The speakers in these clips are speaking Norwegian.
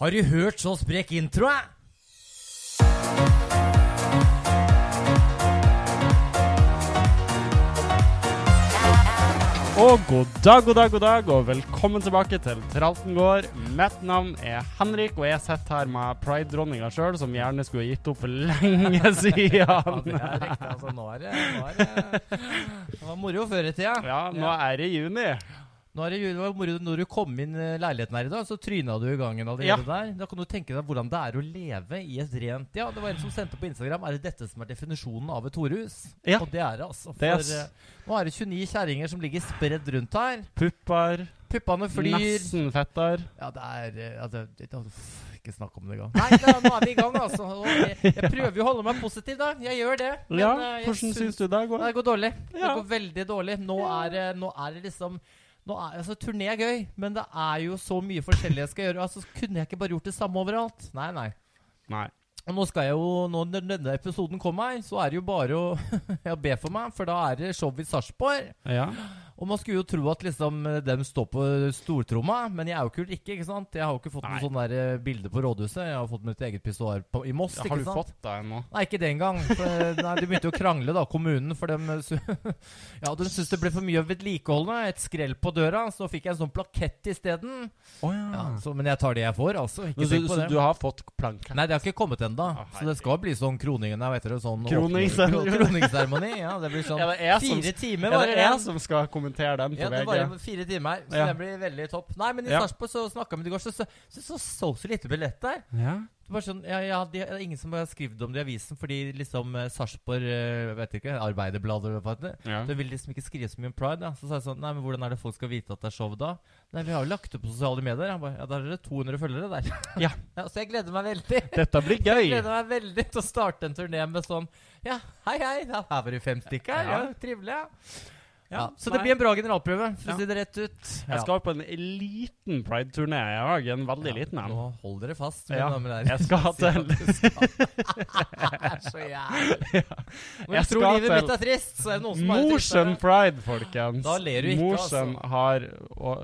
Har du hørt så sprek intro, eh? Og god dag, god dag, god dag, og velkommen tilbake til Tralten gård. Mitt navn er Henrik, og jeg sitter her med pride-dronninga sjøl, som gjerne skulle ha gitt opp for lenge Ja, det siden. er riktig. Altså, nå er det, nå er det, det var moro før i tida. Ja, nå er det juni. Nå er det, jul- det var moro når du kom inn i leiligheten her i dag, så tryna du i gangen allerede Ja. der. Da kan du tenke deg hvordan det er å leve i et rent Ja, det var en som sendte på Instagram Er det dette som er definisjonen av et horehus. Ja. Og det er det, altså. Det er For, s- eh, nå er det 29 kjerringer som ligger spredd rundt her. Pupper, Puppene flyr. nesten-fetter. Ja, det er eh, altså, det, det, uff, Ikke snakk om det engang. Nei, da, nå er vi i gang, altså. Og jeg, jeg prøver jo å holde meg positiv, da. Jeg gjør det. Ja, eh, jeg hvordan syns du det går? Nei, Det går dårlig. Det Ja. går veldig dårlig. Nå er, det- nå er det liksom nå er, altså, Turné er gøy, men det er jo så mye forskjellig jeg skal gjøre. Altså, Kunne jeg ikke bare gjort det samme overalt? Nei, nei. Nei. Og nå skal jeg jo, nå når denne episoden kommer, her, så er det jo bare å ja, be for meg, for da er det show i Sarpsborg. Ja. Og man skulle jo tro at liksom eh, dem står på stortromma, men jeg er jo ikke Ulrikke, ikke sant? Jeg har jo ikke fått noe Nei. sånn der eh, bilde på rådhuset. Jeg har fått mitt eget pissoar på- i Moss, Har ikke du sant? fått deg ennå? Nei, ikke den gang. For, eh, nei, de begynte jo å krangle, da, kommunen. For dem, sy- ja, de syntes det ble for mye vedlikeholdende. Et skrell på døra, så fikk jeg en sånn plakett isteden. Å Ja, så- men jeg tar det jeg får, altså. Ikke Så, så, tenk på så det. du har fått planke? Nei, det har ikke kommet ennå. Å, så det skal bli sånn kroningen der, vet dere. Sånn Kroningsseremoni. åpning- kroningsseremoni. Ja, det blir sånn Er det jeg som, fire timer, er var det det. jeg den. som skal kommentere den på Ja, det VG? varer fire timer, så Ja. det blir veldig topp. Nei, men i Ja. Sarpsborg så snakka vi med i går, så så så så, så, så lite billett der. Ja. Det var sånn, ja, ja, de, det er ingen som har skrevet om det i avisen, fordi liksom eh, Sarpsborg eh, vet ikke, Arbeiderbladet eller hva det heter. Ja. Da ville de liksom ikke skrive så mye om pride. Da. Så sa jeg sånn Nei, men hvordan er det folk skal vite at det er show da? Nei, vi har jo lagt det på sosiale medier. Han ba, ja, der er det 200 følgere der. Ja. Så jeg gleder meg veldig. Dette blir Jeg gøy. gleder meg veldig til å starte en turné med sånn Ja, hei, hei, da, her var det fem stykker. Ja, Ja. trivelig. Ja. Ja, Ja, så nei. det blir en bra generalprøve, for Ja. å si det rett ut. Ja. Jeg skal på en liten pride-turné i dag. En veldig Ja, liten en. Nå hold dere fast. mine Ja, damer og herrer. jeg skal Sier til- at du skal. Det er så jævlig. Når Jeg du tror skal livet til mitt er trist, så er det noen som er trist. Mosjøen Pride, folkens. Da ler du ikke, altså. Mosjøen har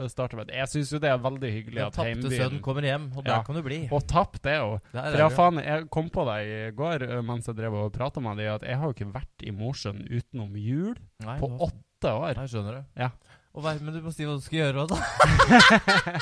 starta med Jeg syns jo det er veldig hyggelig Den at tapte sønnen heimbyen kommer hjem, og der Ja. kan du bli. Og tapt det jo. Der er For ja, du. faen, jeg kom på det i går eh, mens jeg drev og prata med dem, at jeg har jo ikke vært i Mosjøen utenom jul Nei, på nå- åtte år. Nei, skjønner du. Ja. Og hva- men du må si hva du skal gjøre, da.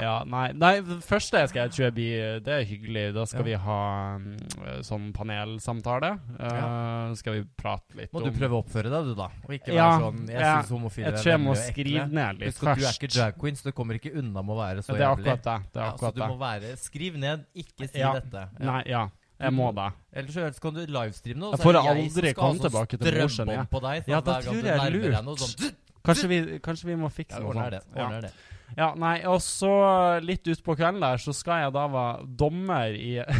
Ja, nei, nei, det første jeg skal jeg tror jeg blir Det er hyggelig. Da skal vi ha mm, sånn panelsamtale. Eh, Skal vi prate litt Må du om prøve å oppføre deg, du, da. Og ikke Ja, være sånn Jeg ja. synes homofile Jeg tror jeg må vemmelig og ekle». skrive ned litt Husk at du er først. ikke drag queen, så du kommer ikke unna med å være så Ja, det er jævlig. akkurat det. det, Ja, er så akkurat du det. må være Skriv ned, ikke si Ja. dette. Ja. Nei, ja. Jeg må det. Ellers så kan du livestreame nå. Jeg så får er det aldri som skal ha komme sånn tilbake til morsen, strømbånd jeg. På deg, sånn Ja, at da hver gang tror du jeg nærmer lurt. deg noe sånn, Kanskje vi, kanskje vi må fikse ja, noe ordner det. sånt. Ja. Ordner det. ja, nei, og så litt utpå kvelden der, så skal jeg da være dommer i Ja,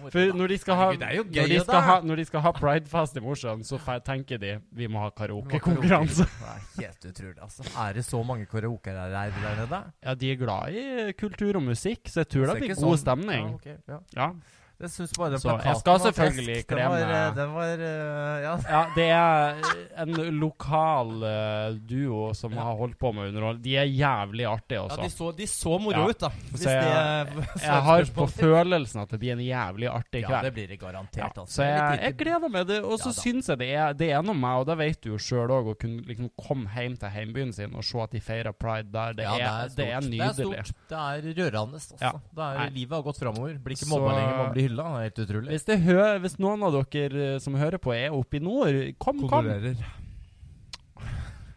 moro, For da. når de skal ha, Herregud, det er jo når gøy, de det skal der. ha, når de skal ha pridefest i Mosjøen, så fe- tenker de vi må ha karaokekonkurranse. Det er helt utrolig, altså. Er det så mange karaokeer der, der nede? Ja, de er glad i kultur og musikk, så jeg tror Så det er blir ikke god sånn- stemning. Ja, ok, ja. Ja. Jeg syns bare den Så jeg plakaten skal var selvfølgelig fest. kle Den var, meg- eh, den var eh, Ja. ja, det er en lokal eh, duo som har holdt på med underhold. De er jævlig artige, ja, de også. så, de så moro Ja. ut, da. Hvis jeg- det er Jeg har på følelsen at det blir en jævlig artig Ja, kveld. det blir det garantert, Ja, altså. Så Det er jeg, litt jeg lite- gleder meg. Det, og Ja så da. syns jeg det er, det er noe med Og det vet du jo sjøl òg, å kunne liksom komme hjem til heimbyen sin og se at de feirer pride der. Det, Ja, er, det, er, stort. nydelig. Det er, stort. det er rørende. Altså. Ja. Det er, Nei. livet har gått framover. Blir ikke Så- mobba lenger, man blir hylla. Det er helt utrolig. hvis, det hø hvis noen av dere eh, som hører på, er oppe i nord, kom, kom! Ja, Nå er du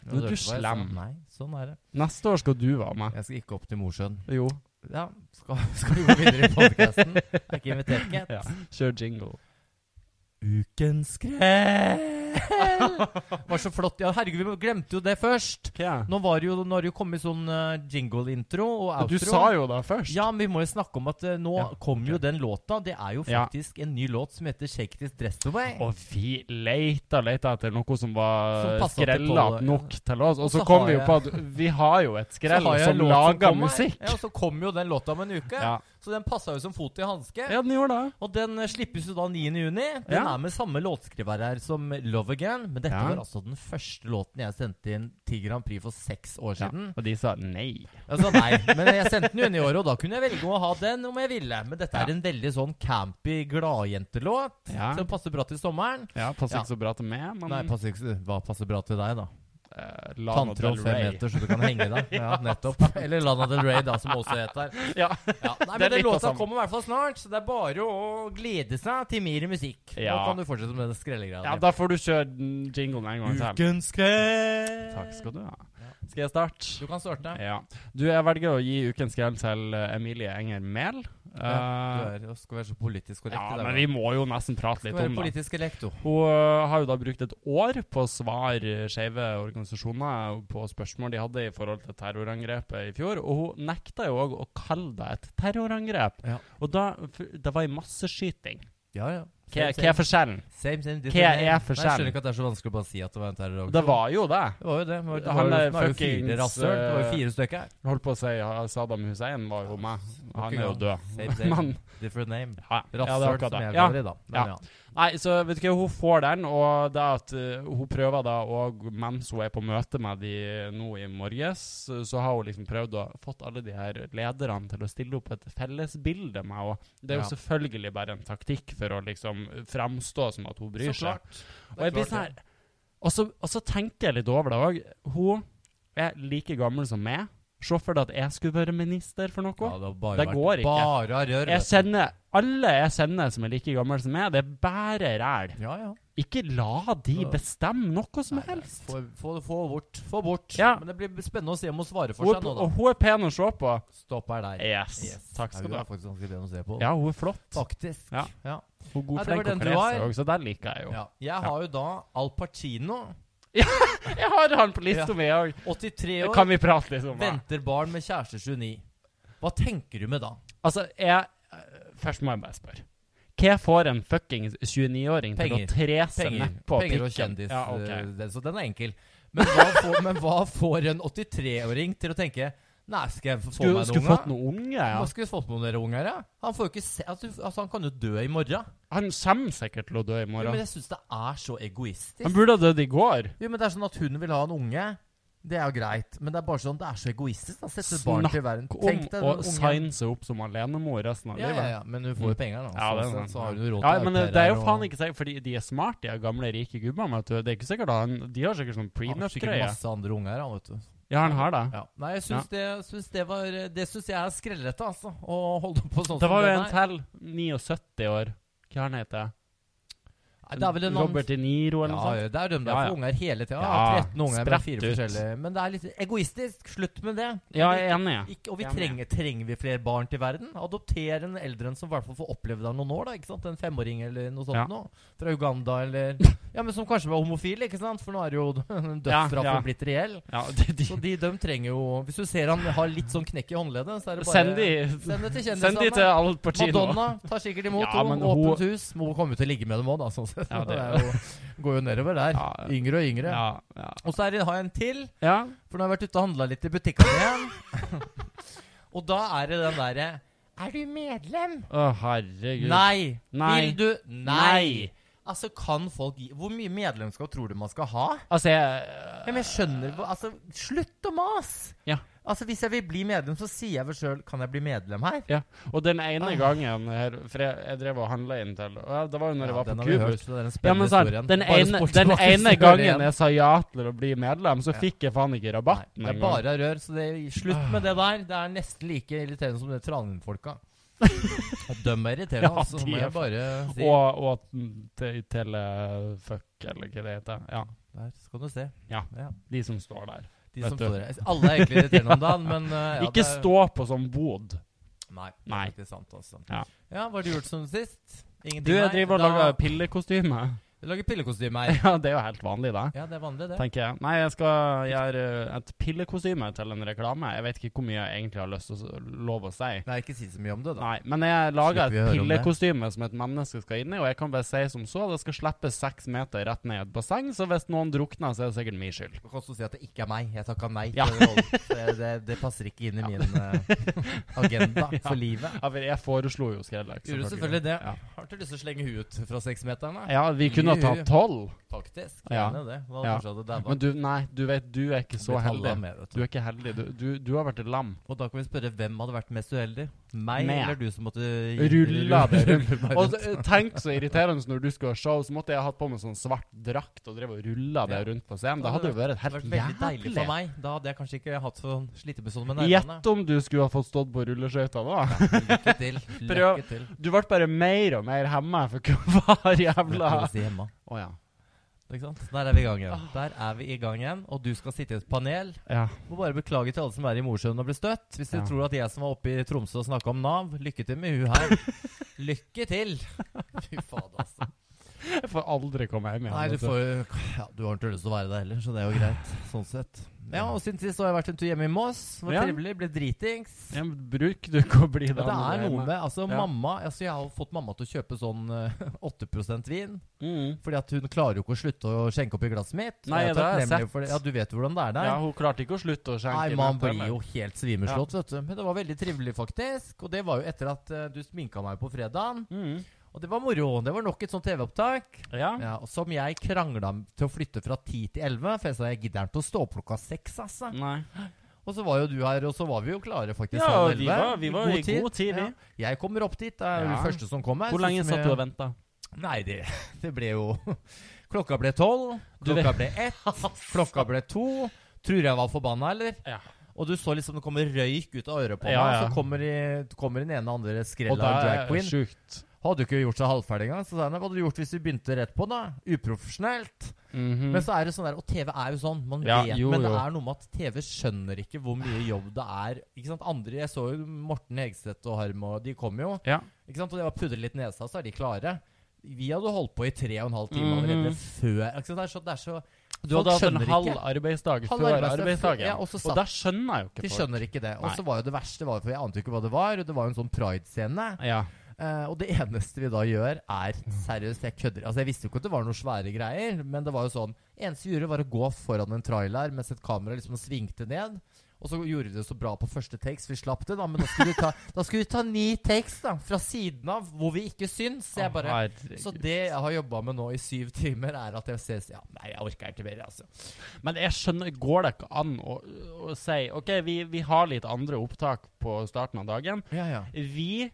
hørte hva jeg sa. slem. Nei, sånn er det. Neste år skal du være med. Jeg skal ikke opp til Mosjøen. Jo, Ja, skal, skal vi gå videre i podkasten? Er ikke invitert, gitt. Ja. kjør jingle. Ukens skrell! Var så flott. Ja, herregud, vi glemte jo det først. Nå var det jo, nå har det jo kommet sånn eh, jingle-intro og Men outro. Du sa jo det først. Ja, men vi må jo snakke om at eh, nå Ja, kom jo ok. den låta. Det er jo Ja. faktisk en ny låt som heter 'Shake This Dress Away'. Og vi leita leita etter noe som var Som passet til skrella Pål, ja. nok til oss, og Og så så kom har vi jo jeg- på at vi har jo et skrell Så har jeg en som låt lager kommer. musikk. Ja, og så kom jo den låta om en uke. Ja. Så den passa jo som fot i hanske. ja, den gjorde det. Og den eh, slippes jo da 9. juni. Den Ja. er med samme låtskriver her som Love Love Again. Men dette Ja. var altså den første låten jeg sendte inn til Grand Prix for seks år Ja. siden. Og de sa nei. Jeg sa nei, men jeg sendte den jo inn i året, og da kunne jeg velge å ha den om jeg ville. Men dette er Ja. en veldig sånn campy gladjentelåt Ja. som passer bra til sommeren. Ja, Passer Ja. ikke så bra til meg, men Nei, passer ikke, hva passer bra til deg, da? eh, Lana Tanntroll Del fem Rey. meter, så du kan henge deg. Ja, nettopp. Eller Lana Del Rey, da, som også heter. Ja. Ja. Nei, Det men er den litt av låta samme. kommer i hvert fall snart, så det er bare å glede seg til mer musikk. Nå Ja. kan du fortsette med den skrellegreia. ja, da får du kjøre den jinglen en gang til. Ukens skrell! Takk skal du ha. Ja. Skal jeg starte? Du kan starte. Ja. Du, jeg velger å gi ukens grell til eh, Emilie Enger Mehl. Du Eh, er, og skal være så politisk korrekt. ja, i dag, men da. vi må jo nesten prate skal litt være om det. politisk elekto. Hun eh, har jo da brukt et år på å svare skeive organisasjoner på spørsmål de hadde i forhold til terrorangrepet i fjor, og hun nekta jo òg å kalle det et terrorangrep. Ja. Og da f- Det var ei masseskyting. Ja, ja. Hva, hva er forskjellen? Same, same, different Hva er name. Nei, Jeg forskjellen? skjønner ikke at det er så vanskelig å bare si at det var en terroraksjon. Det var jo det. Det var jo det. men Det var, Han jo- er det var jo fire fuckings, rasshøl. Det var jo eh, fire stykker. Holdt på å si ja, Saddam Hussein var jo med. Han er jo død. Same, same, Men different name. ja, ja, det er Rasshøl, akkurat som jeg det. Ja, kaller det, da. Men, ja. ja. Nei, så vet du hva, hun får den, og det at eh, hun prøver da òg mens hun er på møte med de eh, nå i morges, så- så har hun liksom prøvd å fått alle de her lederne til å stille opp et fellesbilde med henne. Det er jo Ja. selvfølgelig bare en taktikk for å liksom framstå som at hun bryr seg. Og jeg blir sånn her og så, og så tenker jeg litt over det òg. Hun er like gammel som meg. Se for deg at jeg skulle være minister for noe. Ja, det, har bare Det vært går ikke. Bare av rør. jeg vet du. sender, alle jeg sender som er like gammel som meg, det er bare ræl. Ja, ja. Ikke la de Ja. bestemme noe som Nei, nei, helst. få, få, få bort. Få bort. Ja. Men det blir spennende å se om hun svarer for Hun, seg nå, da. og hun er pen å se på. Stopp her der. Yes. Yes. Takk skal ja, du Hun ha. er faktisk ganske pen å se på. Ja, hun er flott. Faktisk. Ja. ja. Hun er god Nei, det flekk var den å du kle har. seg òg, så den liker jeg jo. Ja. Jeg har jo da Al Pacino, Jeg har han på lista mi òg. 83 Det år, Kan vi prate litt om det? venter barn med kjæreste 29. Hva tenker du med da? Altså, jeg eh, Først må jeg bare spørre. Hva får en fuckings 29-åring til å Penger. trese Penger, nedpå penger og pikken? kjendis. Ja, ok. eh, den- Så den er enkel. Men hva får, men hva får en 83-åring til å tenke Nei, skal jeg få Skulle, meg skulle noen fått unger? noen unge, ja. Hva skulle fått med dere unger, ja? Han, får jo ikke se, altså, altså, han kan jo dø i morgen. Han kommer sikkert til å dø i Jo, men morgen. jeg syns det er så egoistisk. Han burde ha dødd i går. Jo, men det er sånn at hun vil ha en unge. Det er jo greit, men det er bare sånn, det er så egoistisk. Da. Sette et barn Snakk til verden. Om deg å den ungen. signe seg opp som alenemor resten av ja, ja, livet. ja, men hun får jo penger, da. Ja, det er Altså, så, sant. så, så har hun jo råd Ja, men eh, det, det er jo faen og- ikke sikkert, fordi de er smarte, de er gamle, rike gubbene. vet du. Det er ikke sikkert han, De har sikkert sånn Han har sikkert prenup-greie. masse andre unger, han, vet du. Ja, han har det. Ja. Nei, jeg syns det, syns det var Det syns jeg er skrellete, altså. Å holde på sånn Det var jo den en er. til, 79 år. Hva han heter han? Nei, Det er vel en annen Robert De Niro ja, eller noe sånt? ja, det er de der Ja, ja. for unger hele tida. Ja, 13 unger med spredt fire ut. forskjellige Men det er litt egoistisk. Slutt med det. Ja, jeg er enig. Ikke, og vi Jeg er trenger, trenger vi flere barn til verden? Adopter en eldre en som i hvert fall får oppleve det noen år. da, ikke sant? En femåring eller noe sånt Ja. nå. Fra Uganda eller Ja, men som kanskje var homofil, ikke sant? For nå er jo dødsstraffen ja. blitt reell. Ja, de, de, Så de, de trenger jo Hvis du ser han har litt sånn knekk i håndleddet, så er det bare Send de Send det til Send de kjendisene. til Al Pacino. Madonna tar sikkert imot Ja, henne. men Åpent hus. Må komme ut og ligge med dem òg, da. Sånn sett. Ja, det- det er jo, går jo nedover der. Ja. Yngre og yngre. Ja, ja. Og så er det, har jeg en til, ja. for nå har jeg vært ute og handla litt i butikkene igjen. og da er det den derre Er du medlem? Å, herregud. Nei. Nei. Vil du? Nei. Nei. Altså, kan folk gi Hvor mye medlemskap tror du man skal ha? Altså, Ja, jeg Men jeg skjønner hva- Altså, slutt å mase! Ja. Altså, hvis jeg vil bli medlem, så sier jeg vel sjøl Kan jeg bli medlem her? ja. Og den ene Ah. gangen her, for jeg, jeg drev og handla inn til og ja, Det var jo når jeg var den på har vi hørt, Cubus. så det er en Ja, spennende men sånn, historie. den Bare ene, sport den tilbake, så ene hører jeg gangen igjen. jeg sa ja til å bli medlem, så Ja. fikk jeg faen ikke Nei, rabatten det er engang. bare rør, så det, slutt med det der. Det er nesten like irriterende som det Tranum-folka. De er irriterende, Ja, altså. de Må er jeg bare si. Og, og mm, te- telefuck, eh, eller hva det heter. Ja, Der skal du se. Ja. de som står der. De Vet som du. står der. Alle er egentlig irriterende om dagen, men uh, ja, ikke det- stå på sånn bod. Nei. Det Nei. er faktisk sant, altså. Ja. ja, hva har du gjort som sist? Ingenting? Du, jeg nei. driver og Da- lager pillekostyme. Du lager pillekostymer. Ja, det er jo helt vanlig, det. Ja, det er vanlig, det. tenker jeg. Nei, jeg skal gjøre eh, et pillekostyme til en reklame. Jeg vet ikke hvor mye jeg egentlig har lyst til å s- lov å si. Nei, ikke si så mye om det, da. Nei, men jeg lager Slipper vi å et høre om det? pillekostyme som et menneske skal inn i, og jeg kan bare si som så, det skal slippes seks meter rett ned i et basseng, så hvis noen drukner, så er det sikkert min skyld. Du kan også si at det ikke er meg. Jeg takker nei. Ja. til den rollen. Det, det, det passer ikke inn i min eh, agenda for livet. Ja, for jeg foreslo jo Skrellex. Gjorde selvfølgelig det. Ja. Har klart lyst til å slenge huet ut fra seksmeterne. Ja, vi kunne ha tatt tolv. Faktisk. Ja. Gjerne det. Da Ja. kanskje hadde dabba. Men du, nei, du vet, du er ikke så Blitt halva heldig. Med, vet Du du. er ikke heldig. Du, du, du har vært et lam. Og da kan vi spørre hvem hadde vært mest uheldig? Meg Meg. eller du som måtte Rulla det rundt. rulle meg Og rundt? eh, tenk så irriterende når du skulle ha show, så måtte jeg ha hatt på meg sånn svart drakt og drev og rulla det Ja. rundt på scenen. Det hadde jo vært Det hadde helt vært veldig deilig for jævlig. meg. Da hadde jeg kanskje ikke hatt sånn slitebesånd med nervene. Gjett om du skulle ha fått stått på rulleskøyta da. Lykke til. Prøv. Lykke til. Du ble bare mer og mer hemma for hver jævla Prøv altså. å si hjemme. Å ja. Ikke sant? Der er vi i gang igjen. Ah. Der er vi i gang igjen Og du skal sitte i et panel. ja. Må bare beklage til alle som er i Mosjøen og blir støtt. Hvis du Ja. tror at jeg som var oppe i Tromsø og snakka om Nav Lykke til med hun her. Lykke til! Fy faen, altså. Jeg får aldri komme hjem igjen. Nei, du vet får jo Ja, du har ikke lyst til å være der heller, så det er jo greit. Sånn sett. Ja, og siden sist så har jeg vært en tur hjemme i Moss. Var Ja. trivelig. Ble dritings. Ja, men bruk du ikke å bli Ja, det er noe med Altså, Ja. mamma Altså, jeg har fått mamma til å kjøpe sånn eh, 8 vin. mm. Fordi at hun klarer jo ikke å slutte å skjenke opp i glasset mitt. og Nei, jeg er det har jeg takknemlig sett. for det. Ja, du vet hvordan det er der. Ja, hun klarte ikke å slutte å skjenke. Nei, inn man dette, blir jo eller? helt svimeslått, vet du. Men det var veldig trivelig, faktisk. Og det var jo etter at eh, du sminka meg på fredagen. mm. Og det var moro. Det var nok et sånt TV-opptak. Ja. Ja, og som jeg krangla m- til å flytte fra 10 til 11, for jeg sa jeg gidder ikke å stå opp klokka 6, altså. Nei. Og så var jo du her, og så var vi jo klare, faktisk. Ja, halv vi 11. var- vi var i god tid, vi. Jeg kommer opp dit. Det er jo Ja. den første som kommer. Hvor lenge satt du og venta? Nei, det, det ble jo Klokka ble tolv, Du vet- klokka ble ett, klokka ble to. Tror jeg var forbanna, eller? Ja. Og du så liksom det kommer røyk ut av øret på meg, Ja, ja. så kommer, i, kommer den ene og andre Og skrella det av drag er queen. sjukt. Hadde jo ikke gjort seg halvferdig engang. Så sa han, hva hadde du gjort hvis vi begynte rett på, da? Uprofesjonelt. Mhm. Men så er det sånn der, og TV er jo sånn, man Mm. Ja, vet, jo, men det jo. er noe med at TV skjønner ikke hvor mye jobb det er. Ikke sant? Andre, jeg så jo Morten Hegseth og Harm, og de kom jo. Ja. Ikke sant? Og det var pudre litt nesa, så er de klare. Vi hadde holdt på i tre og en halv time allerede Mhm. før ikke sant? Det er så, det er så Du Folk hadde hatt en skjønner halv ikke. arbeidsdag Halv før arbeidsdag før- arbeidsdagen. ja, og så satt- og det skjønner jeg jo ikke. De folk. skjønner ikke det. Og Nei. så var jo det verste, var, for jeg ante jo ikke hva det var, og det var jo en sånn pride-scene. Ja. Eh, og det eneste vi da gjør, er seriøst, jeg kødder Altså, jeg visste jo ikke at det var noen svære greier, men det var jo sånn Eneste vi gjorde, var å gå foran en trailer mens et kamera liksom svingte ned. Og så gjorde vi det så bra på første takes, vi slapp det, da, men da skulle vi ta, da skulle vi ta ni takes, da, fra siden av, hvor vi ikke syns. Så jeg bare Herregud. Så det jeg har jobba med nå i syv timer, er at jeg ses Ja, nei, jeg orker ikke mer, altså. Men jeg skjønner, går det ikke an å, å si OK, vi, vi har litt andre opptak på starten av dagen. Ja, ja. Vi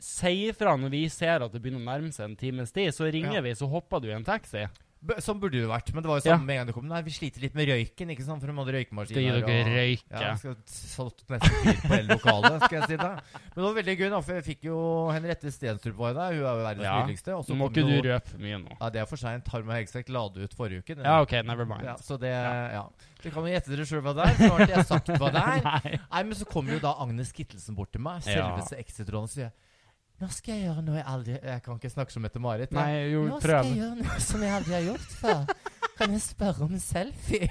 sier fra når vi ser at det begynner å nærme seg en times tid. Så ringer Ja. vi, så hopper du i en taxi. B sånn burde det jo vært, men det var jo Ja. samme med en gang det kom. Nei, vi sliter litt med røyken, ikke sant, for de hadde røykemaskiner. Skal gi dere røyke. Ja, skal satt nesten fyr på hele lokalet, skal jeg si deg. Men det var veldig gøy, da, for jeg fikk jo Henriette Stenstrup var jo der, hun er jo verdens Ja. nydeligste. Og så Nå må kom ikke jo- du røpe for mye nå. Ja, det er for seint. Harm og Hegseth la det ut forrige uke. den. Ja, OK, never mind. Ja, så det Ja. Dere kan jo gjette dere sjøl hva det er. Så har ikke jeg sagt hva det er. Nei. Nei, men så kommer jo da Agnes Kittelsen bort til meg, Ja. selveste exit-råden, og sier Nå skal jeg gjøre noe jeg aldri Jeg kan ikke snakke som Mette-Marit. Nei, jeg. jo, Nå skal prøv. jeg gjøre noe som jeg aldri har gjort før. Kan jeg spørre om en selfie?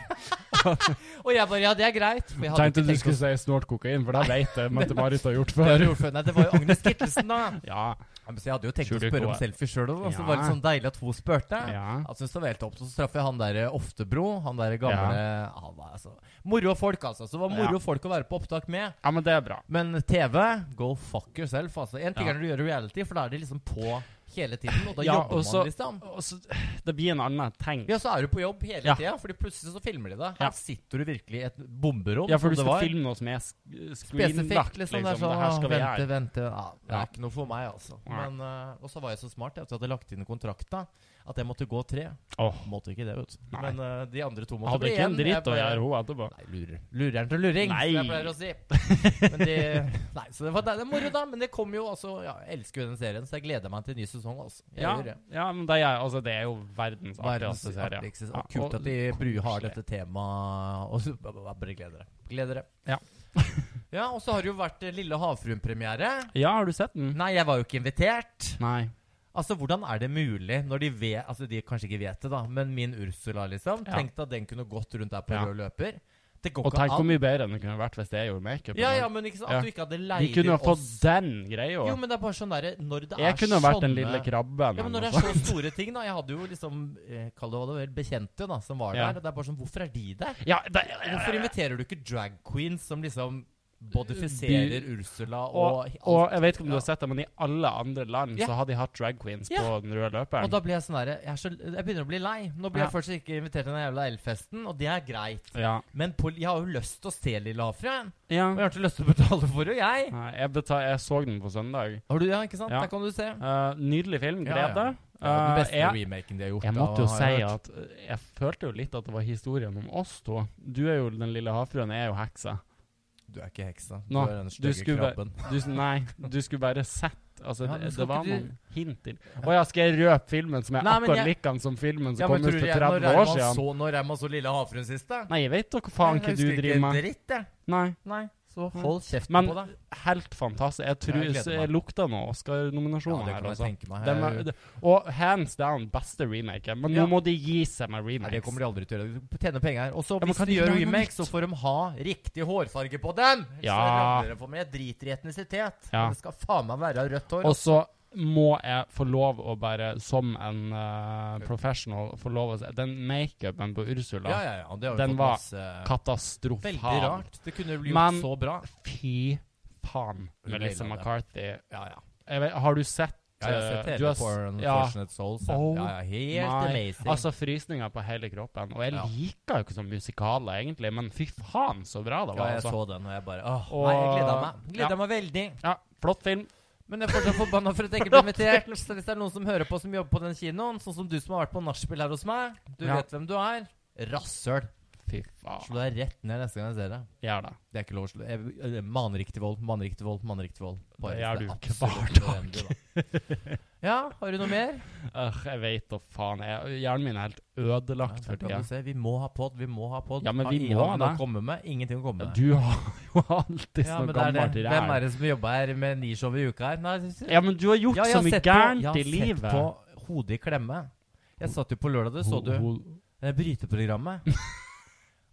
og jeg bare Ja, det er greit. For jeg hadde Tenkte ikke du tenkt å- skulle si snålt kokain, for det vet jeg Mette-Marit har gjort Det har før. jeg gjort før. Nei, det var jo Agnes Kittelsen, da. Ja, Ja, men Så jeg hadde jo tenkt å Skjuler spørre ikke om hva- selfie sjøl òg, så Ja. det var litt sånn deilig at hun spurte. ja. Han syntes det var helt topp. Så traff jeg han der eh, Oftebro. Han der gamle han var, altså, Moro folk, altså. Så det var moro Ja. folk å være på opptak med. ja, men det er bra. Men TV, go fuck yourself. Altså. En ting Ja. er når du gjør reality, for da er de liksom på hele tiden. Og da Ja, jobber og så- man liksom. Og så- det blir en annen ting. Ja, så er du på jobb hele Ja. tida, Fordi plutselig så filmer de deg. Her Ja. sitter du virkelig i et bomberom. Ja, for som du det skal var. filme noe som er sk- Spesifikt, liksom. skrinlagt, Det er Det her sånn skal vi Vente, gjøre. vente. Ja, det Ja. er ikke noe for meg, altså. Nei. Men, eh, og så var jeg så smart etter at jeg hadde lagt inn kontrakta, at jeg måtte gå tre. Åh, Måtte ikke det, vet du. Nei. Men eh, de andre to måtte hadde bli ikke en igjen. Jeg dritt å bare- gjøre hun etterpå. Nei, lurer. Lureren til luring, Nei. som jeg pleier å si. Men det, nei, så det var det er moro, da. Men det kommer jo altså ja, Jeg elsker jo den serien, så jeg gleder meg til en ny sesong. Altså. Jeg Ja, gjør det. ja, men det er, altså, det er jo verdens Verdens artigste serie. artigste sesong. Ja, Og Kult og- at de bru- har dette temaet. Og så b- b- Bare gleder dere. Gleder dere. Ja. ja, og så har det jo vært eh, Lille havfruen-premiere. Ja, har du sett den? Nei, jeg var jo ikke invitert. Nei. Altså, Hvordan er det mulig, når de vet Altså, de kanskje ikke vet det, da, men min Ursula, liksom. Ja. Tenkte at den kunne gått rundt der på Ja. rød løper. Det går Og ikke tenk hvor an. mye bedre enn det kunne vært hvis jeg gjorde makeup. Ja, ja, men ikke sant? Ja. At du ikke hadde Vi leid kunne jo inn fått oss. den greia. Jo, men det er bare sånn derre Når det jeg er kunne sånne vært den lille krabben. ja, men Når det eller er noe så store ting, da. Jeg hadde jo liksom eh, Kall det hva det var, bekjente da som var Ja. der. Og det er bare sånn Hvorfor er de der? sånt. ja, det, Hvorfor inviterer du ikke drag queens som liksom Bodifiserer Ursula og, Og, og jeg vet ikke om du har sett det, men i alle andre land Ja. så har de hatt drag queens Ja. på den røde Og løperen. da blir jeg sånn der, jeg, er så, jeg begynner å bli lei. Nå blir Ja. jeg først ikke invitert til den jævla elfesten, og det er greit. ja. Men på, jeg har jo lyst til å se Lilla Havfruen. ja. Og jeg har ikke lyst til å betale for det, jeg. Nei, Jeg, betal, jeg så den på søndag. Har du, ja, ikke sant? Ja. Der kan du se. Eh, nydelig film. Ja, Gled deg. Ja, den Eh, beste jeg, remaken de har gjort. jeg da, måtte jo har si jeg hørt. at eh, jeg følte jo litt at det var historien om oss to. Du er jo den lille havfruen, jeg er jo heksa. Du er ikke heksa. Nå, du er den du stygge skulle bare- krabben. Du, s- nei, du skulle bare sett. Altså, Ja, men det, skal det var ikke du- noen hint til Å ja, skal jeg røpe filmen som er Nei, men akkurat jeg- lik den som filmen som Ja, men kom ut tror du for jeg, når 30 er år man siden? så, når er man så Lille havfruen sist, da? Nei, jeg vet da hva faen hva Jeg du husker driver med. Dritt, jeg. Nei, Nei, så hold kjeften Men- på deg. helt fantastisk. Jeg tror Jeg gleder så meg. jeg lukter noen Ja, Oscar-nominasjoner det her, kan jeg altså. tenke meg. Den var- det- og hands down beste remake. Men nå Ja. må de gi seg med Nei, remakes. det kommer de aldri til å gjøre. De tjener penger. Og så men hvis kan de de gjør lage noe remake, nytt? så får de ha riktig hårfarge på dem! Ellers Ja. så ramler det for meg. Jeg driter i etnisitet. Ja. Men Det skal faen meg være rødt hår. altså. Og så må jeg få lov å bare, som en eh, professional, få lov å se Den makeupen på Ursula, ja, ja, ja. Det har jo Den fått var masse katastrofal. Veldig rart. Det kunne bli Men- gjort så bra. Fy Hun faen, Melissa naila det. McCarthy. Ja, ja. Jeg vet, har du sett Ja, jeg har eh, sett du hele har s- Porn ja, Fortunate Souls. Oh ja, ja, helt my- amazing. Altså frysninger på hele kroppen. Og jeg Ja. liker jo ikke sånn musikaler, egentlig, men fy faen, så bra det ja, var. jeg altså. så den, og jeg bare Åh, Og- nei, jeg gleda meg. Gleda Ja. meg veldig. Ja, Flott film. Men jeg er fortsatt forbanna for at jeg ikke ble invitert. Så hvis det er noen som hører på som jobber på den kinoen, sånn som du som har vært på nachspiel her hos meg, du Ja. vet hvem du er. Rasshøl. Fy faen. Slå deg rett ned neste gang jeg ser deg. Gjør det. Det er ikke lov å slå jeg- jeg- Maner ikke til vold, maner ikke til vold, maner ikke til vold. Bare Det gjør hvis du absolutt hver nødvendig, da. Ja, har du noe mer? Øh, jeg vet da faen. Jeg, hjernen min er helt ødelagt Ja, for der kan tida. du se. Vi må ha pod, vi må ha pod. Ja, men vi må det. det. Komme med. Ingenting å komme med. Du har jo alltid Ja, noe men det er liksom gammelt det. i Hvem er ræva. det som jobber her med ni show i uka her? Nei, Ja, men du har gjort Ja, jeg så har mye sett på- jeg gærent har i livet. Sett på Hodet i klemme. Jeg satt jo på lørdag, det så Ho- du. ho- eh, Bryteprogrammet.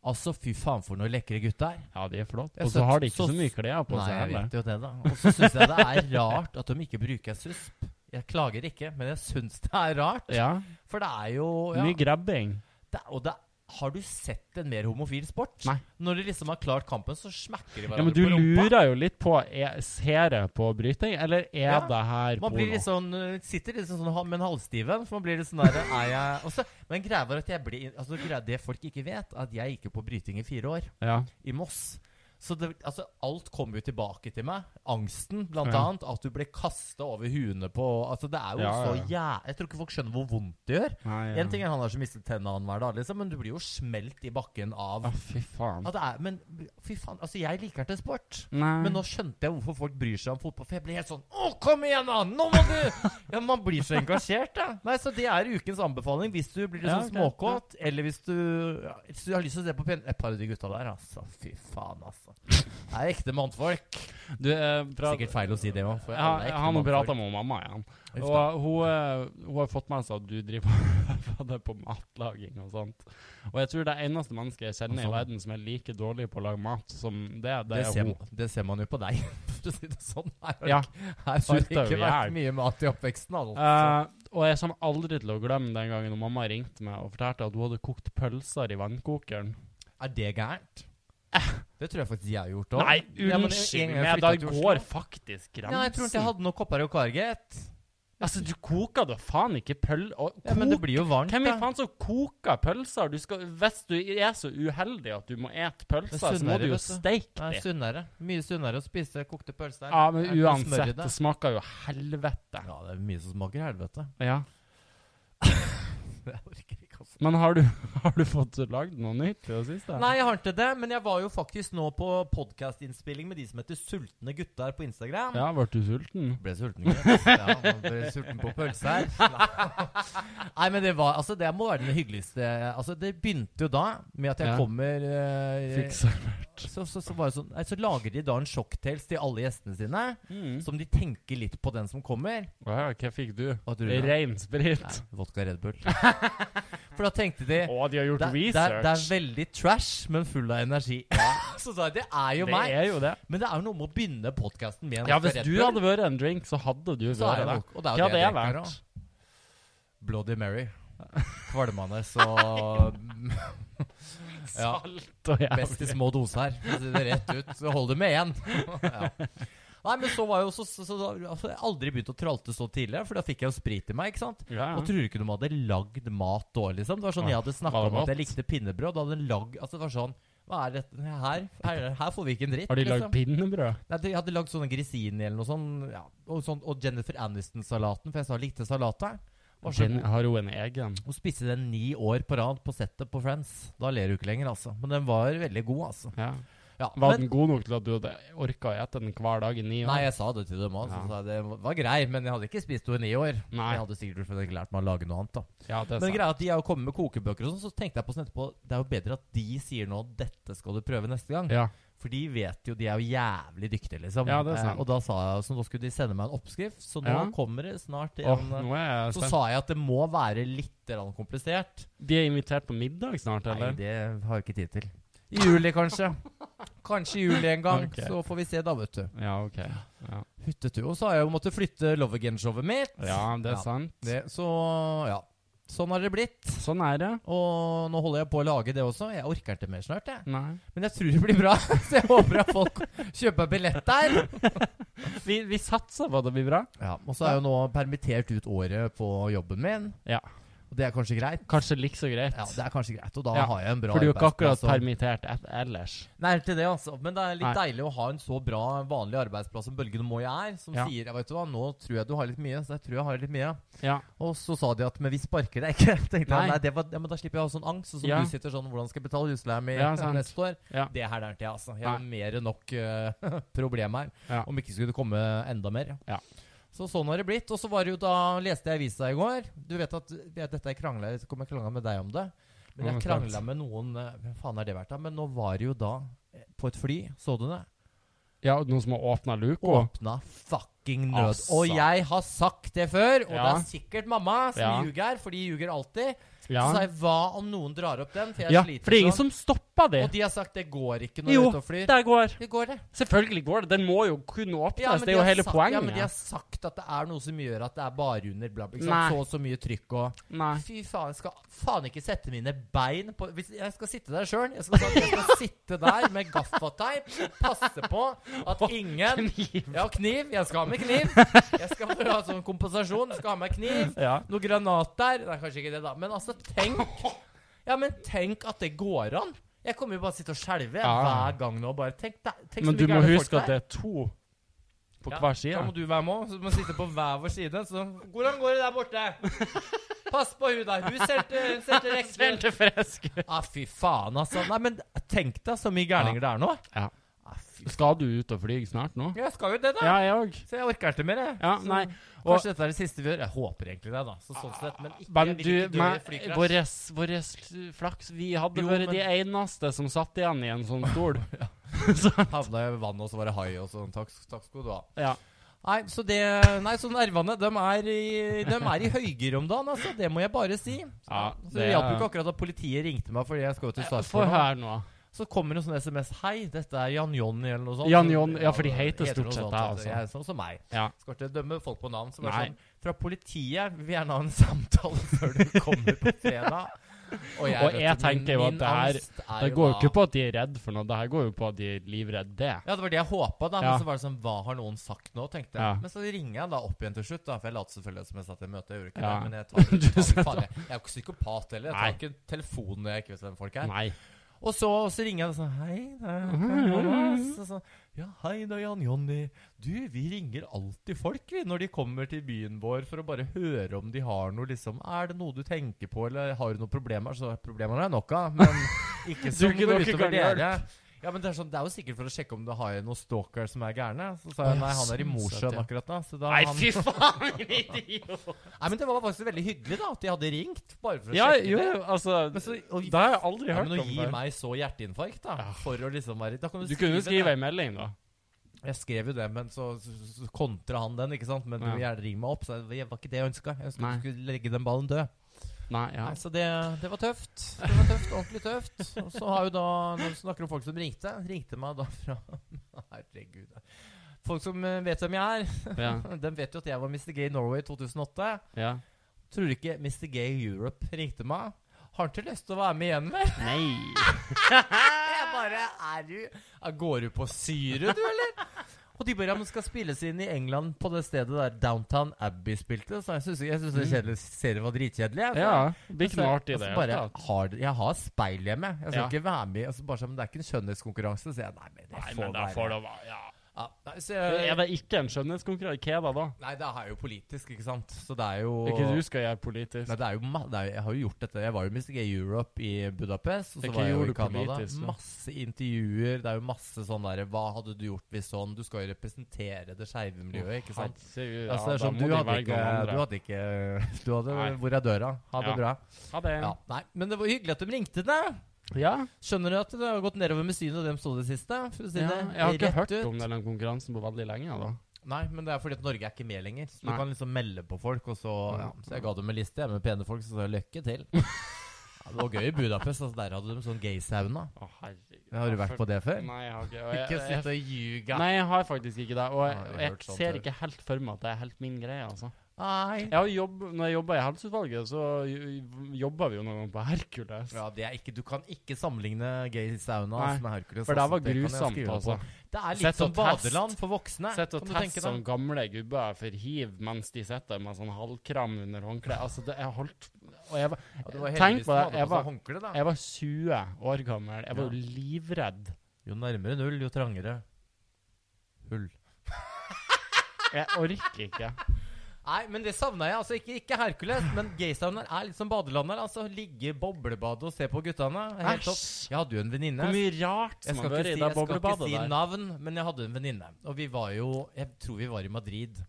altså, fy faen for noen lekre gutter. Ja, de er flotte. Jeg har Og så har de sett- ikke så- så mye klær på Nei, seg jeg heller. vet jo det, da. Og så syns jeg det er rart at de ikke bruker susp. Jeg klager ikke, men jeg syns det er rart. Ja, For det er jo ja, mye grabbing. det, Og det har du sett en mer homofil sport? Nei. Når de liksom har klart kampen, så smekker de Ja, hverandre men du på rumpa. lurer jo litt på er, Ser jeg på bryting, eller er Ja, det her Man blir porno? litt sånn, øh, sitter litt sånn sånn ha- med en halvstiven, for man blir litt sånn der er jeg, og så- Men greia var at jeg ble altså, greia, Det folk ikke vet, er at jeg gikk jo på bryting i fire år, Ja. i Moss. Så det, altså, alt kom jo tilbake til meg. Angsten, blant Ja. annet. At du ble kasta over huene på altså, Det er jo Ja, så jæ... Jeg tror ikke folk skjønner hvor vondt det gjør. Nei, En ja. ting er han har som mistet tenna annenhver dag, liksom, men du blir jo smelt i bakken av Å, fy faen. ja, det er, Men fy faen, altså, jeg liker til sport. Nei. Men nå skjønte jeg hvorfor folk bryr seg om fotball. For jeg ble helt sånn Å, kom igjen, da! Nå må du Ja, Man blir så engasjert, da. Nei, så det er ukens anbefaling hvis du blir litt Ja, sånn ok. småkåt, eller hvis du, ja, hvis du har lyst til å se på pen... Et par av de gutta der, altså. Fy faen, altså. Det er ekte mannfolk. Du, eh, pra- Sikkert feil å si det òg. Ja, jeg har nå prata med mamma igjen. Og hun, eh, hun har fått med seg at du driver og øver deg på matlaging og sånt. Og jeg tror det eneste mennesket jeg kjenner Og sånn. i verden som er like dårlig på å lage mat som det, det, Det er ser, hun. det ser man jo på deg, for å si det sånn. Her har, Ja. her har det sulter jo ikke vært i hjel. mye mat i oppveksten. Altså. Eh, og jeg kommer aldri til å glemme den gangen når mamma ringte meg og fortalte at hun hadde kokt pølser i vannkokeren. er det gærent? Det tror jeg faktisk jeg har gjort òg. Nei, unnskyld meg, da går faktisk grensen. Ja, jeg tror ikke jeg hadde noe kopper og kar, gitt. Altså, du koker da faen ikke pøl... Og, Ja, men det blir jo varmt, Hvem i da. faen som koker pølser? Du skal, hvis du er så uheldig at du må ete pølser, Det er så må sunnere, du jo vet du. Det steike er dem. sunnere. Mye sunnere å spise kokte pølser. Ja, men Det er ikke noe smør i uansett, det. det smaker jo helvete. Ja, det er mye som smaker helvete. Ja. Jeg orker ikke, altså. Men har du, har du fått lagd noe nytt i det siste? Nei, jeg har ikke det, men jeg var jo faktisk nå på podkastinnspilling med de som heter Sultne gutter på Instagram. Ja, ble du sulten? Ble sulten, gitt. Ja, man ble sulten på pølse her. Nei, men det var Altså, det må være den hyggeligste Altså, det begynte jo da med at jeg Ja. kommer eh, Fikk seg. så, så, så, var det sånn, nei, så lager de da en shocktails til alle gjestene sine. Mm. Som de tenker litt på den som kommer. Hva, hva fikk du? Hva tror du da? Rein Nei, sprit. vodka Red Bull. For da tenkte de Å, de har gjort det, det, er- det er research. veldig trash, men full av energi. så sa jeg det er jo Det meg. er jo det. Men det er jo noe med å begynne podkasten med en Ja, vodka hvis Red du Bull, hadde vært en drink, så hadde du så er vært det det. nok. Og det er Hva jo hadde det jeg jeg drikker vært? òg. Bloody Mary. Kvalmende så Ja. Salt og jævlig. eh, Best i små doser. for å si Det rett ut. Så hold det med én. Ja. Nei, men så var jo så, så, så, altså, Jeg har aldri begynt å tralte så tidligere, for da fikk jeg jo sprit i meg. ikke sant? Ja, Og tror du ikke de hadde lagd mat da, liksom? Det var sånn, Nei, Jeg hadde snakka var det om at jeg mat? likte pinnebrød. Da hadde de lagd Altså, det var sånn Hva er dette her? Her, her får vi ikke en dritt. Har de lagd liksom. pinnebrød? Nei, de hadde lagd sånne grisini eller noe sånt. Ja, og, sånn, og Jennifer Aniston-salaten, for jeg sa jeg likte salat der. Var så Jen- god. Har hun en egen? Hun spiste den ni år på rad på settet på Friends. Da ler du ikke lenger, altså. Men den var veldig god, altså. Ja. Ja, Var men, den god nok til at du hadde orka å ete den hver dag i ni år? nei, jeg sa det til dem òg. Ja. Det var grei, men jeg hadde ikke spist henne i ni år. Nei. Jeg hadde sikkert for ikke lært meg å lage noe annet, da. Ja, det Men er sant. greia er at de er jo kommet med kokebøker og sånn, så tenkte jeg på sånn etterpå Det er jo bedre at de sier nå 'dette skal du prøve neste gang'. Ja. For de vet jo, de er jo jævlig dyktige, liksom. Ja, det er Eh, sant. og da sa jeg så nå skulle de sende meg en oppskrift, så nå Ja. kommer det snart en Åh, nå er jeg Så spent. sa jeg at det må være litt grann komplisert. De er invitert på middag snart, Nei, eller? det har jeg ikke tid til. I juli, kanskje. Kanskje i juli en gang. Ok. Så får vi se, da, vet du. Ja, OK. Ja, Hyttetur. Og så har jeg jo måttet flytte Love Again-showet mitt. ja det er Ja. sant. Det, så ja. Sånn har det blitt. Sånn er det. Og nå holder jeg på å lage det også. Jeg orker ikke mer snart, jeg. Nei. Men jeg tror det blir bra. Så jeg håper at folk kjøper billett der. Vi, vi satser på at det blir bra. Ja, Og så er jeg jo nå permittert ut året på jobben min. Ja. Og det er kanskje greit? Kanskje like så greit. Ja, det er kanskje greit. Og da Ja, har jeg en bra For du er jo ikke akkurat arbeidsplass og- permittert et ellers. Nei, til det, altså. Men det er litt Nei. deilig å ha en så bra vanlig arbeidsplass som Bølgen og Moi er, som Ja. sier ja, vet du hva, 'Nå tror jeg du har litt mye', så jeg tror jeg har litt mye. Ja. Og så sa de at 'men vi sparker deg ikke'. Tenkte jeg, Nei. nei, det var, ja, men Da slipper jeg å ha sånn angst. Og som Ja. du sitter sånn 'Hvordan skal jeg betale husleia mi Ja, sant. neste år?' Ja. Det her lærte jeg, altså. Jeg har mer enn nok eh, problem her. Ja. Om ikke skulle det komme enda mer. Ja. Så sånn har det blitt. Og så var det jo da leste jeg avisa i går. Du vet at jeg, dette jeg krangla Jeg kommer krangla med deg om det. Men Nå er jeg jeg spent. krangla med noen eh, Hvem faen er det vært, da? Men nå var det jo da eh, på et fly, så du det? ja, og noen som har åpna luka? Åpna fucking nød. Altså. Og jeg har sagt det før, og det Ja. er sikkert mamma som Ja. ljuger, for de ljuger alltid. Ja. Så sa jeg hva om noen drar opp den, for jeg ja. For det sliter er ingen sånn. som stopper det. Og de har sagt det går ikke når Jo, du er ute og flyr. Der går. Det går, det. Selvfølgelig går det. Den må jo kunne åpnes. men det de er jo har hele sagt, poenget. Ja, men de har sagt at det er noe som gjør at det er bare under bla, bla. Ikke Nei. sant? Så og så mye trykk og Nei. Fy faen, jeg skal faen ikke sette mine bein på Hvis Jeg skal sitte der sjøl. Jeg skal, jeg skal sitte der med gaffateip og passe på at ingen Jeg har kniv. Jeg skal ha med kniv. Jeg skal få ha sånn kompensasjon. Jeg skal ha med kniv. Ja. Noe granat der. Nei, kanskje ikke det, da. Men altså, tenk Ja, men tenk at det går an. Jeg kommer jo bare til å sitte og skjelve jeg, Ja. hver gang nå. Bare tenk, deg- tenk så Men mye du må gærne folk huske der. at det er to på Ja, hver side. Da må du være med òg. Så du må sitte på hver vår side. Så hvordan går det der borte? Pass på hun der. Hun ser til, hun ser til Ser rekkevidde. til frisk. Ah, fy faen, altså. Nei, men tenk deg så mye gærninger det er nå. Ja. Ah, fy faen. Skal du ut og fly snart nå? Jeg skal jo det, da. Ja, jeg òg. Så jeg orker ikke mer, jeg. Ja, Så nei. og- Kanskje dette er det siste vi gjør. Jeg håper egentlig det, da. Så sånn sett, men ikke, Men jeg vil du, ikke dø i men flykrasj. vår flaks Vi hadde Jo, vært men- de eneste som satt igjen i en sånn stol. Havna i vannet, og så var det hai og sånn. Takk, takk skal du ha. Ja. Nei, så det Nei, så nervene, de er i, de er i høygir om dagen, altså. Det må jeg bare si. Ja, så det det hjalp jo er- ikke akkurat at politiet ringte meg fordi jeg skal jo til Få Sarpsborg. nå. høre nå. Så kommer en sånn SMS Hei, dette er Jan Jonny eller noe sånt. Jan Jonny, ja, for de heter heter stort noe sett sånt, det, vet du. altså. Jeg er sånn som meg. Ja. Skal ikke dømme folk på navn. Som er Nei. sånn Fra politiet vil gjerne ha en samtale før du kommer på fredag. Og vet jeg du, min- tenker jo at min det her- angst er Det jo går jo da- ikke på at de er redd for noe, det her går jo på at de er livredd det. Ja, det var det jeg håpa, da. Ja. Men så var det sånn Hva har noen sagt nå? tenkte jeg. Ja. Men så ringer jeg da opp igjen til slutt, da. For jeg lot selvfølgelig som jeg satt i møte. Jeg gjorde ikke Ja. det, men jeg tar, Du tar, satt- faen, jeg, jeg er jo ikke psykopat heller. Jeg Nei. tar ikke telefonen når jeg ikke vet hvem folk er. Nei. Og så, så ringer jeg og sånn Hei, det er Hei, Thomas. Og så, ja, hei da, Jan Jonny. Du, vi ringer alltid folk, vi, når de kommer til byen vår, for å bare høre om de har noe, liksom Er det noe du tenker på, eller har du noen problemer? Så problemer har jeg nok av, men ikke Du som kunne går nok ikke utover klart. dere. Ja, men det er, sånn, det er jo sikkert for å sjekke om du har noen stalker som er gærne. Så sa Å, jeg ja, nei, han er i sånn sett, Mosjøen ja. akkurat nå. Så da Nei, han, fy faen, min idiot! nei, men det var faktisk veldig hyggelig da at de hadde ringt, bare for å Ja, sjekke jo, det. altså Men så, og, Det har jeg aldri ja, hørt men å om gi før. meg så hjerteinfarkt, da, for å liksom være da kan Du kunne jo det. skrive ei melding, da. Jeg skrev jo det, men så, så, så kontra han den, ikke sant. Men du Ja. vil gjerne ringe meg opp, så det var ikke det jeg ønska. Jeg ønsket Nei. du skulle legge den ballen død. Nei, ja. Nei, så det, det var tøft. Det var tøft, Ordentlig tøft. Og så har jo da, når vi snakker om folk som ringte, ringte meg da fra Herregud. Folk som eh, vet hvem jeg er, Ja. de vet jo at jeg var Mr. Gay Norway i 2008. ja. Tror du ikke Mr. Gay Europe ringte meg? Har ikke lyst til å være med igjen, vel? Nei. Jeg bare Er du er- Går du på syre, du, eller? Og de bare ja, men skal spilles inn i England på det stedet der Downtown Abbey spilte. Så jeg syns jeg synes det kjedelig, serien var dritkjedelig. jeg. Mm. Ja, blir ikke noe artig i Altså, det. bare, hele tatt. har, det- jeg har speil hjemme. Jeg skal Ja. ikke være med. i- Altså, bare sånn, det er ikke en skjønnhetskonkurranse. Så jeg nei, men det Nei, får men da være. får det være ja. Ja, nei, så Er jeg, det ikke en skjønnhetskonkurranse? Hva er det da? nei, det er jo politisk, ikke sant. Så det er jo Ikke du skal gjøre politisk. Nei, det er jo ma det er, jeg har jo gjort dette. Jeg var jo Miss Gay Europe i Budapest. Og Hva så var jeg jo gjorde i du Canada. politisk, da? Masse intervjuer. Det er jo masse sånn derre Hva hadde du gjort hvis sånn? Du skal jo representere det skeive miljøet, ikke sant? Herregud, altså, det er da sånn, må du, de hadde velge ikke, noen andre. du hadde ikke Du hadde Nei. Hvor er døra? Ha det Ja. bra. Ha det. Ja, nei, Men det var hyggelig at de ringte deg. Ja. Skjønner du at det har gått nedover med synet av dem stod det siste? For å si Ja, det jeg har ikke rett hørt ut. om den konkurransen på veldig lenge. altså. da Nei, men det er fordi at Norge er ikke med lenger. Så Nei. du kan liksom melde på folk, og så ja. Mm. Så jeg ga dem en liste jeg, med pene folk, så sa jeg lykke til. ja, det var gøy i Budapest. Altså, der hadde de sånn gay-sauna. Å, herregud. Har du vært på det før? Nei, jeg har ikke og jeg- Ikke jeg- sitt og ljuge. Nei, jeg har faktisk ikke det. Nei, Og jeg har jeg, jeg hørt sånt ser før. ikke helt for meg at det er helt min greie, altså. Nei. Jeg har jobb, når jeg jobba i helseutvalget, så jo- jobba vi jo noen gang på Hercules. Ja, det er ikke, du kan ikke sammenligne gay-sauna Nei, altså, med Hercules. For det altså, var kan jeg grusomt, skrive altså. på. Det er Sett litt som og test. badeland for voksne. Sett og kan du test tenke deg. sånn gamle gubber for hiv mens de sitter med sånn halvkram under håndkleet. Altså, det jeg holdt Og jeg var, Ja, det var Tenk heldigvis på de det, hadde jeg på var- seg håndkle, da. jeg var 20 år gammel. Jeg var jo livredd. Jo nærmere null, jo trangere hull. Jeg orker ikke. Nei, men det savna jeg. altså Ikke, ikke Hercules, men gaysaunaer er litt som badelandet. altså Ligge i boblebadet og se på guttene. er Helt topp. Æsj! Jeg hadde jo en venninne. Hvor mye rart Jeg som skal har ikke si, vært i det jeg skal ikke boblebadet si der. navn, men jeg hadde en venninne. Og vi var jo Jeg tror vi var i Madrid.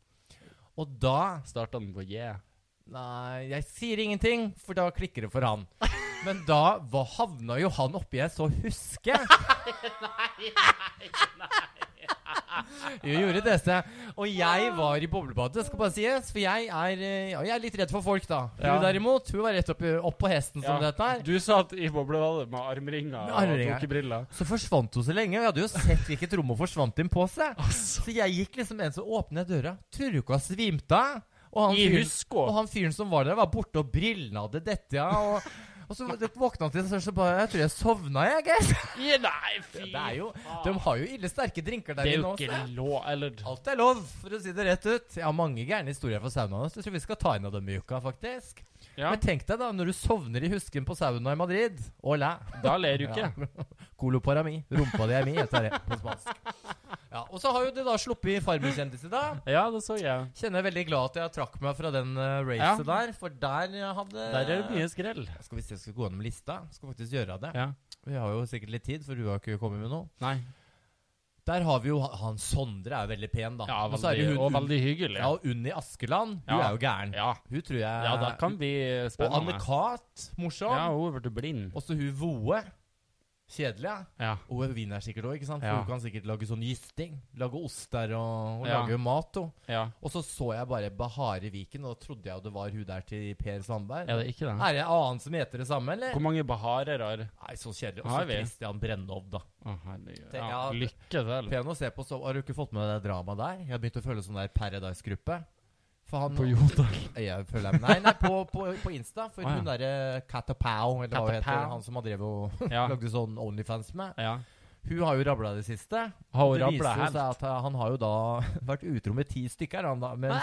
Og da Starta den på J. Nei, jeg sier ingenting, for da klikker det for han. Men da hva havna jo han oppi jeg så huske. nei, nei, nei. Jo, gjorde det. så jeg- Og jeg var i boblebadet, skal bare sies. For jeg er, eh, ja, jeg er litt redd for folk, da. Hun Ja. derimot, hun var rett opp, opp på hesten Sånn som Ja, dette her. Du satt i boblebadet med armringer Med og armringer. tokebriller. Så forsvant hun så lenge, og jeg hadde jo sett hvilket rom hun forsvant inn på seg. Så jeg gikk liksom en som åpnet døra. Tror du ikke hun svimte av? Og han I fyren- husko. Og han fyren som var der, var borte, og brillene hadde dette, ja. Og, og så våkna han til en stund, så bare Jeg tror jeg sovna, jeg, guys. Ja, Nei, fy Det er jo, de har jo ille sterke drinker Det der er inne jo også. ikke lov Eller Alt er lov, for å si det rett ut. Jeg har mange gærne historier fra saunaen. så Jeg tror vi skal ta en av dem i uka, faktisk. Ja, Men tenk deg, da, når du sovner i husken på sauna i Madrid. Olé. da ler du ikke. Ja. Coloparami. Rumpa di er mi, heter det på spansk. Ja, og så har jo det da sluppet Farmen-kjendis i dag. Ja, det så jeg. Kjenner jeg veldig glad at jeg trakk meg fra den uh, Ja. racet der, for der eh, hadde Der er det mye skrell. Skal vi se, skal vi gå gjennom lista? Skal faktisk gjøre det. Ja. Vi har jo sikkert litt tid, for du har ikke kommet med noe. Nei. Der har vi jo han Sondre er jo veldig pen, da. Ja, og så er det veldig, hun og Unn- veldig hyggelig. Ja, og Unni Askeland. Hun Ja. er jo gæren. Ja, Hun tror jeg ja da kan vi Og spennende. Anne-Kat. Morsom. Ja, hun er blitt blind. Også hun Voe. Kjedelig, ja. Ja. Og hun vinner sikkert òg, ikke sant? For Ja. hun kan sikkert lage sånn gysting. Lage oster og, og Ja. lage mat. Og. ja. og så så jeg bare Bahare Viken, og da trodde jeg jo det var hun der til Per Sandberg. Er det ikke det? Er det en annen som heter det samme, eller? Hvor mange baharer har Nei, så kjedelig. Og Har så vi? Christian Brennov, da. Å, herregud. Tenk, Ja, ja. lykke til. Pen å se på, så Har du ikke fått med deg det dramaet der? Jeg har begynt å føle sånn der Paradise-gruppe. For han På jorda. Jeg føler Nei, nei, på, på, på Insta. For Å, ja. hun eh, derre Katapau, eller hva hun heter, Katapau. han som har drevet og Ja. lagde sånn Onlyfans med, ja. hun har jo rabla i det siste. Har hun det viser rabla jo helt? seg at eh, han har jo da vært utro med ti stykker. Han da, men,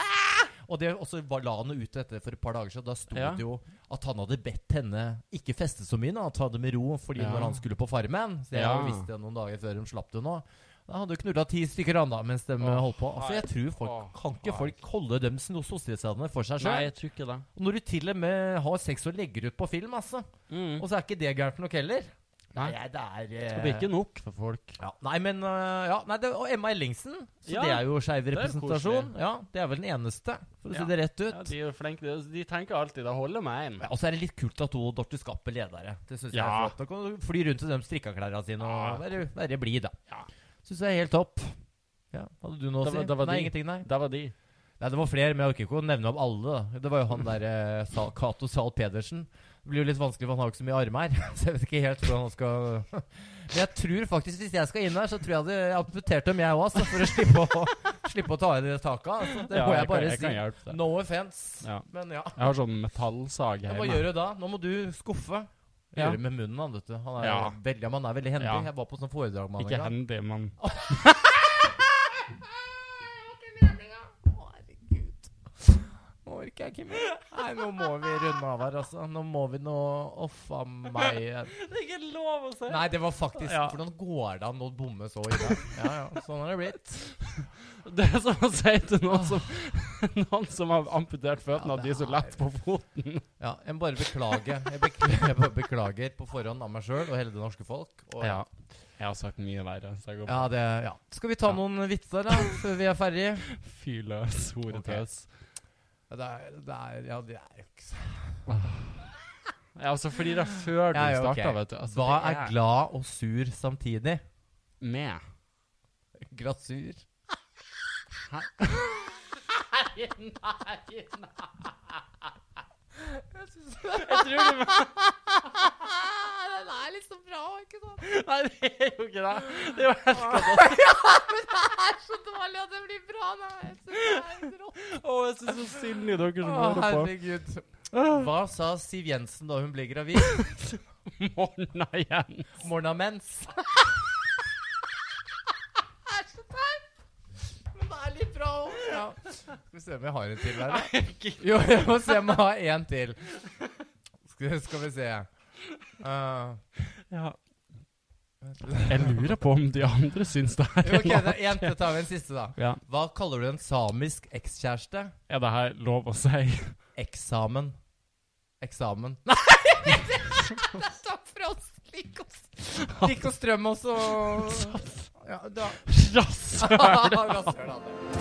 og det og så var- la han jo ut dette for et par dager siden. Da sto Ah! Ja. det jo at han hadde bedt henne ikke feste så mye, nå, ta det med ro, fordi Ja. når han skulle på Farmen Så jeg Ja. jo visste det noen dager før hun slapp det nå. Da hadde hun knulla ti stykker han da, mens de eh, Å, holdt på. Altså jeg tror folk, å, Kan ikke nei. folk holde dem no- sosialstedene for seg Nei, sjøl? jeg tror ikke det. Når du til og med har sex og legger ut på film, altså. Mm. Og så er ikke det gærent nok heller. Nei. det er eh, Det blir ikke nok for folk. ja, nei, men øh, ja, nei, det, Og Emma Ellingsen. Så Ja, det er jo skeiv er representasjon. ja, det er vel den eneste, for å Ja. si det rett Ja, ut. de er jo flinke. De, de tenker alltid det holder med én. Ja, og så er det litt kult at hun Dorthe Skapp er ledere. Det synes jeg Ja. er flott. Da kan du fly rundt i de strikkaklærne sine Ja. og være, være blid, da. Ja. Syns jeg er helt topp. Ja, Hadde du noe å Det var- si? det var nei, de. ingenting, nei. Det var de. Nei, Det var flere, men jeg orker ikke å nevne opp alle. da. Det var jo Mm. han der eh, Sa- Cato Zahl Pedersen. Det blir jo litt vanskelig, for han har jo ikke så mye armer her. Så jeg vet ikke helt hvordan han skal Men jeg tror faktisk, hvis jeg skal inn her, så tror jeg hadde amputert dem, jeg òg, for å slippe å, slippe å ta inn i taka. Altså, det Ja, må jeg kan, bare jeg kan si. hjelpe deg. No offence, Ja. men ja. Jeg har sånn metallsag Ja, hjemme. Hva gjør du da? Nå må du skuffe. Ja. Gjøre med munnen, han, vet du. Han er, Ja. veldig, han er veldig hendig. Ja. Jeg var på sånn foredrag med Ikke han en gang. hendig, men Herregud. Nå orker jeg ikke mer. Nei, nå må vi runde av her, altså. Nå må vi nå Offa meg. Det er ikke lov å si! Nei, det var faktisk Ja. Hvordan går det an å bomme så i dag? Ja, ja, sånn har det blitt. Det er som å si til noen som, noen som har amputert føttene, Ja, at det de Ah. er så lett på foten. Ja, jeg må bare beklage. Jeg, bekl jeg bare beklager på forhånd av meg sjøl og hele det norske folk. Og Ja. Jeg har sagt mye verre, så jeg går Ja, det, ja. Skal vi ta Ja. noen vitser, da? Før vi er ferdig? Fy løs, horetøs. Ja, Det er, det er, ja, det er jo ikke så Ja, altså fordi det er før du Ja, ja, ok. starta, vet du. Altså, Hva det er glad og sur samtidig? Med. Glasur. Hæ? Nei, nei, nei. Jeg synes Jeg tror du Den er liksom bra, ikke sant? Nei, det er jo ikke det. Det er jo Men helt det er så dårlig at det blir bra. Nei, jeg synes det er rått. Å, jeg syns så synd i dere som Å, hører på. herregud. Ah, Hva sa Siv Jensen da hun ble gravid? Morna igjen. Morna mens. Det er så teit. Men det er litt bra òg. Ja. Skal vi se om jeg har en til her, da. Jo, jeg må se om jeg har en til. Skal, skal vi se. Eh, Ja. Jeg lurer på om de andre syns det her jo, ok, er det er en til. Tar vi en siste, da. Ja. Hva kaller du en samisk ekskjæreste? Er det her lov å si? Eksamen. Eksamen. Nei! Det er takk for oss. Lik oss. Lik oss strøm også. Ja, da. Rasshøl! Rasshøl, altså.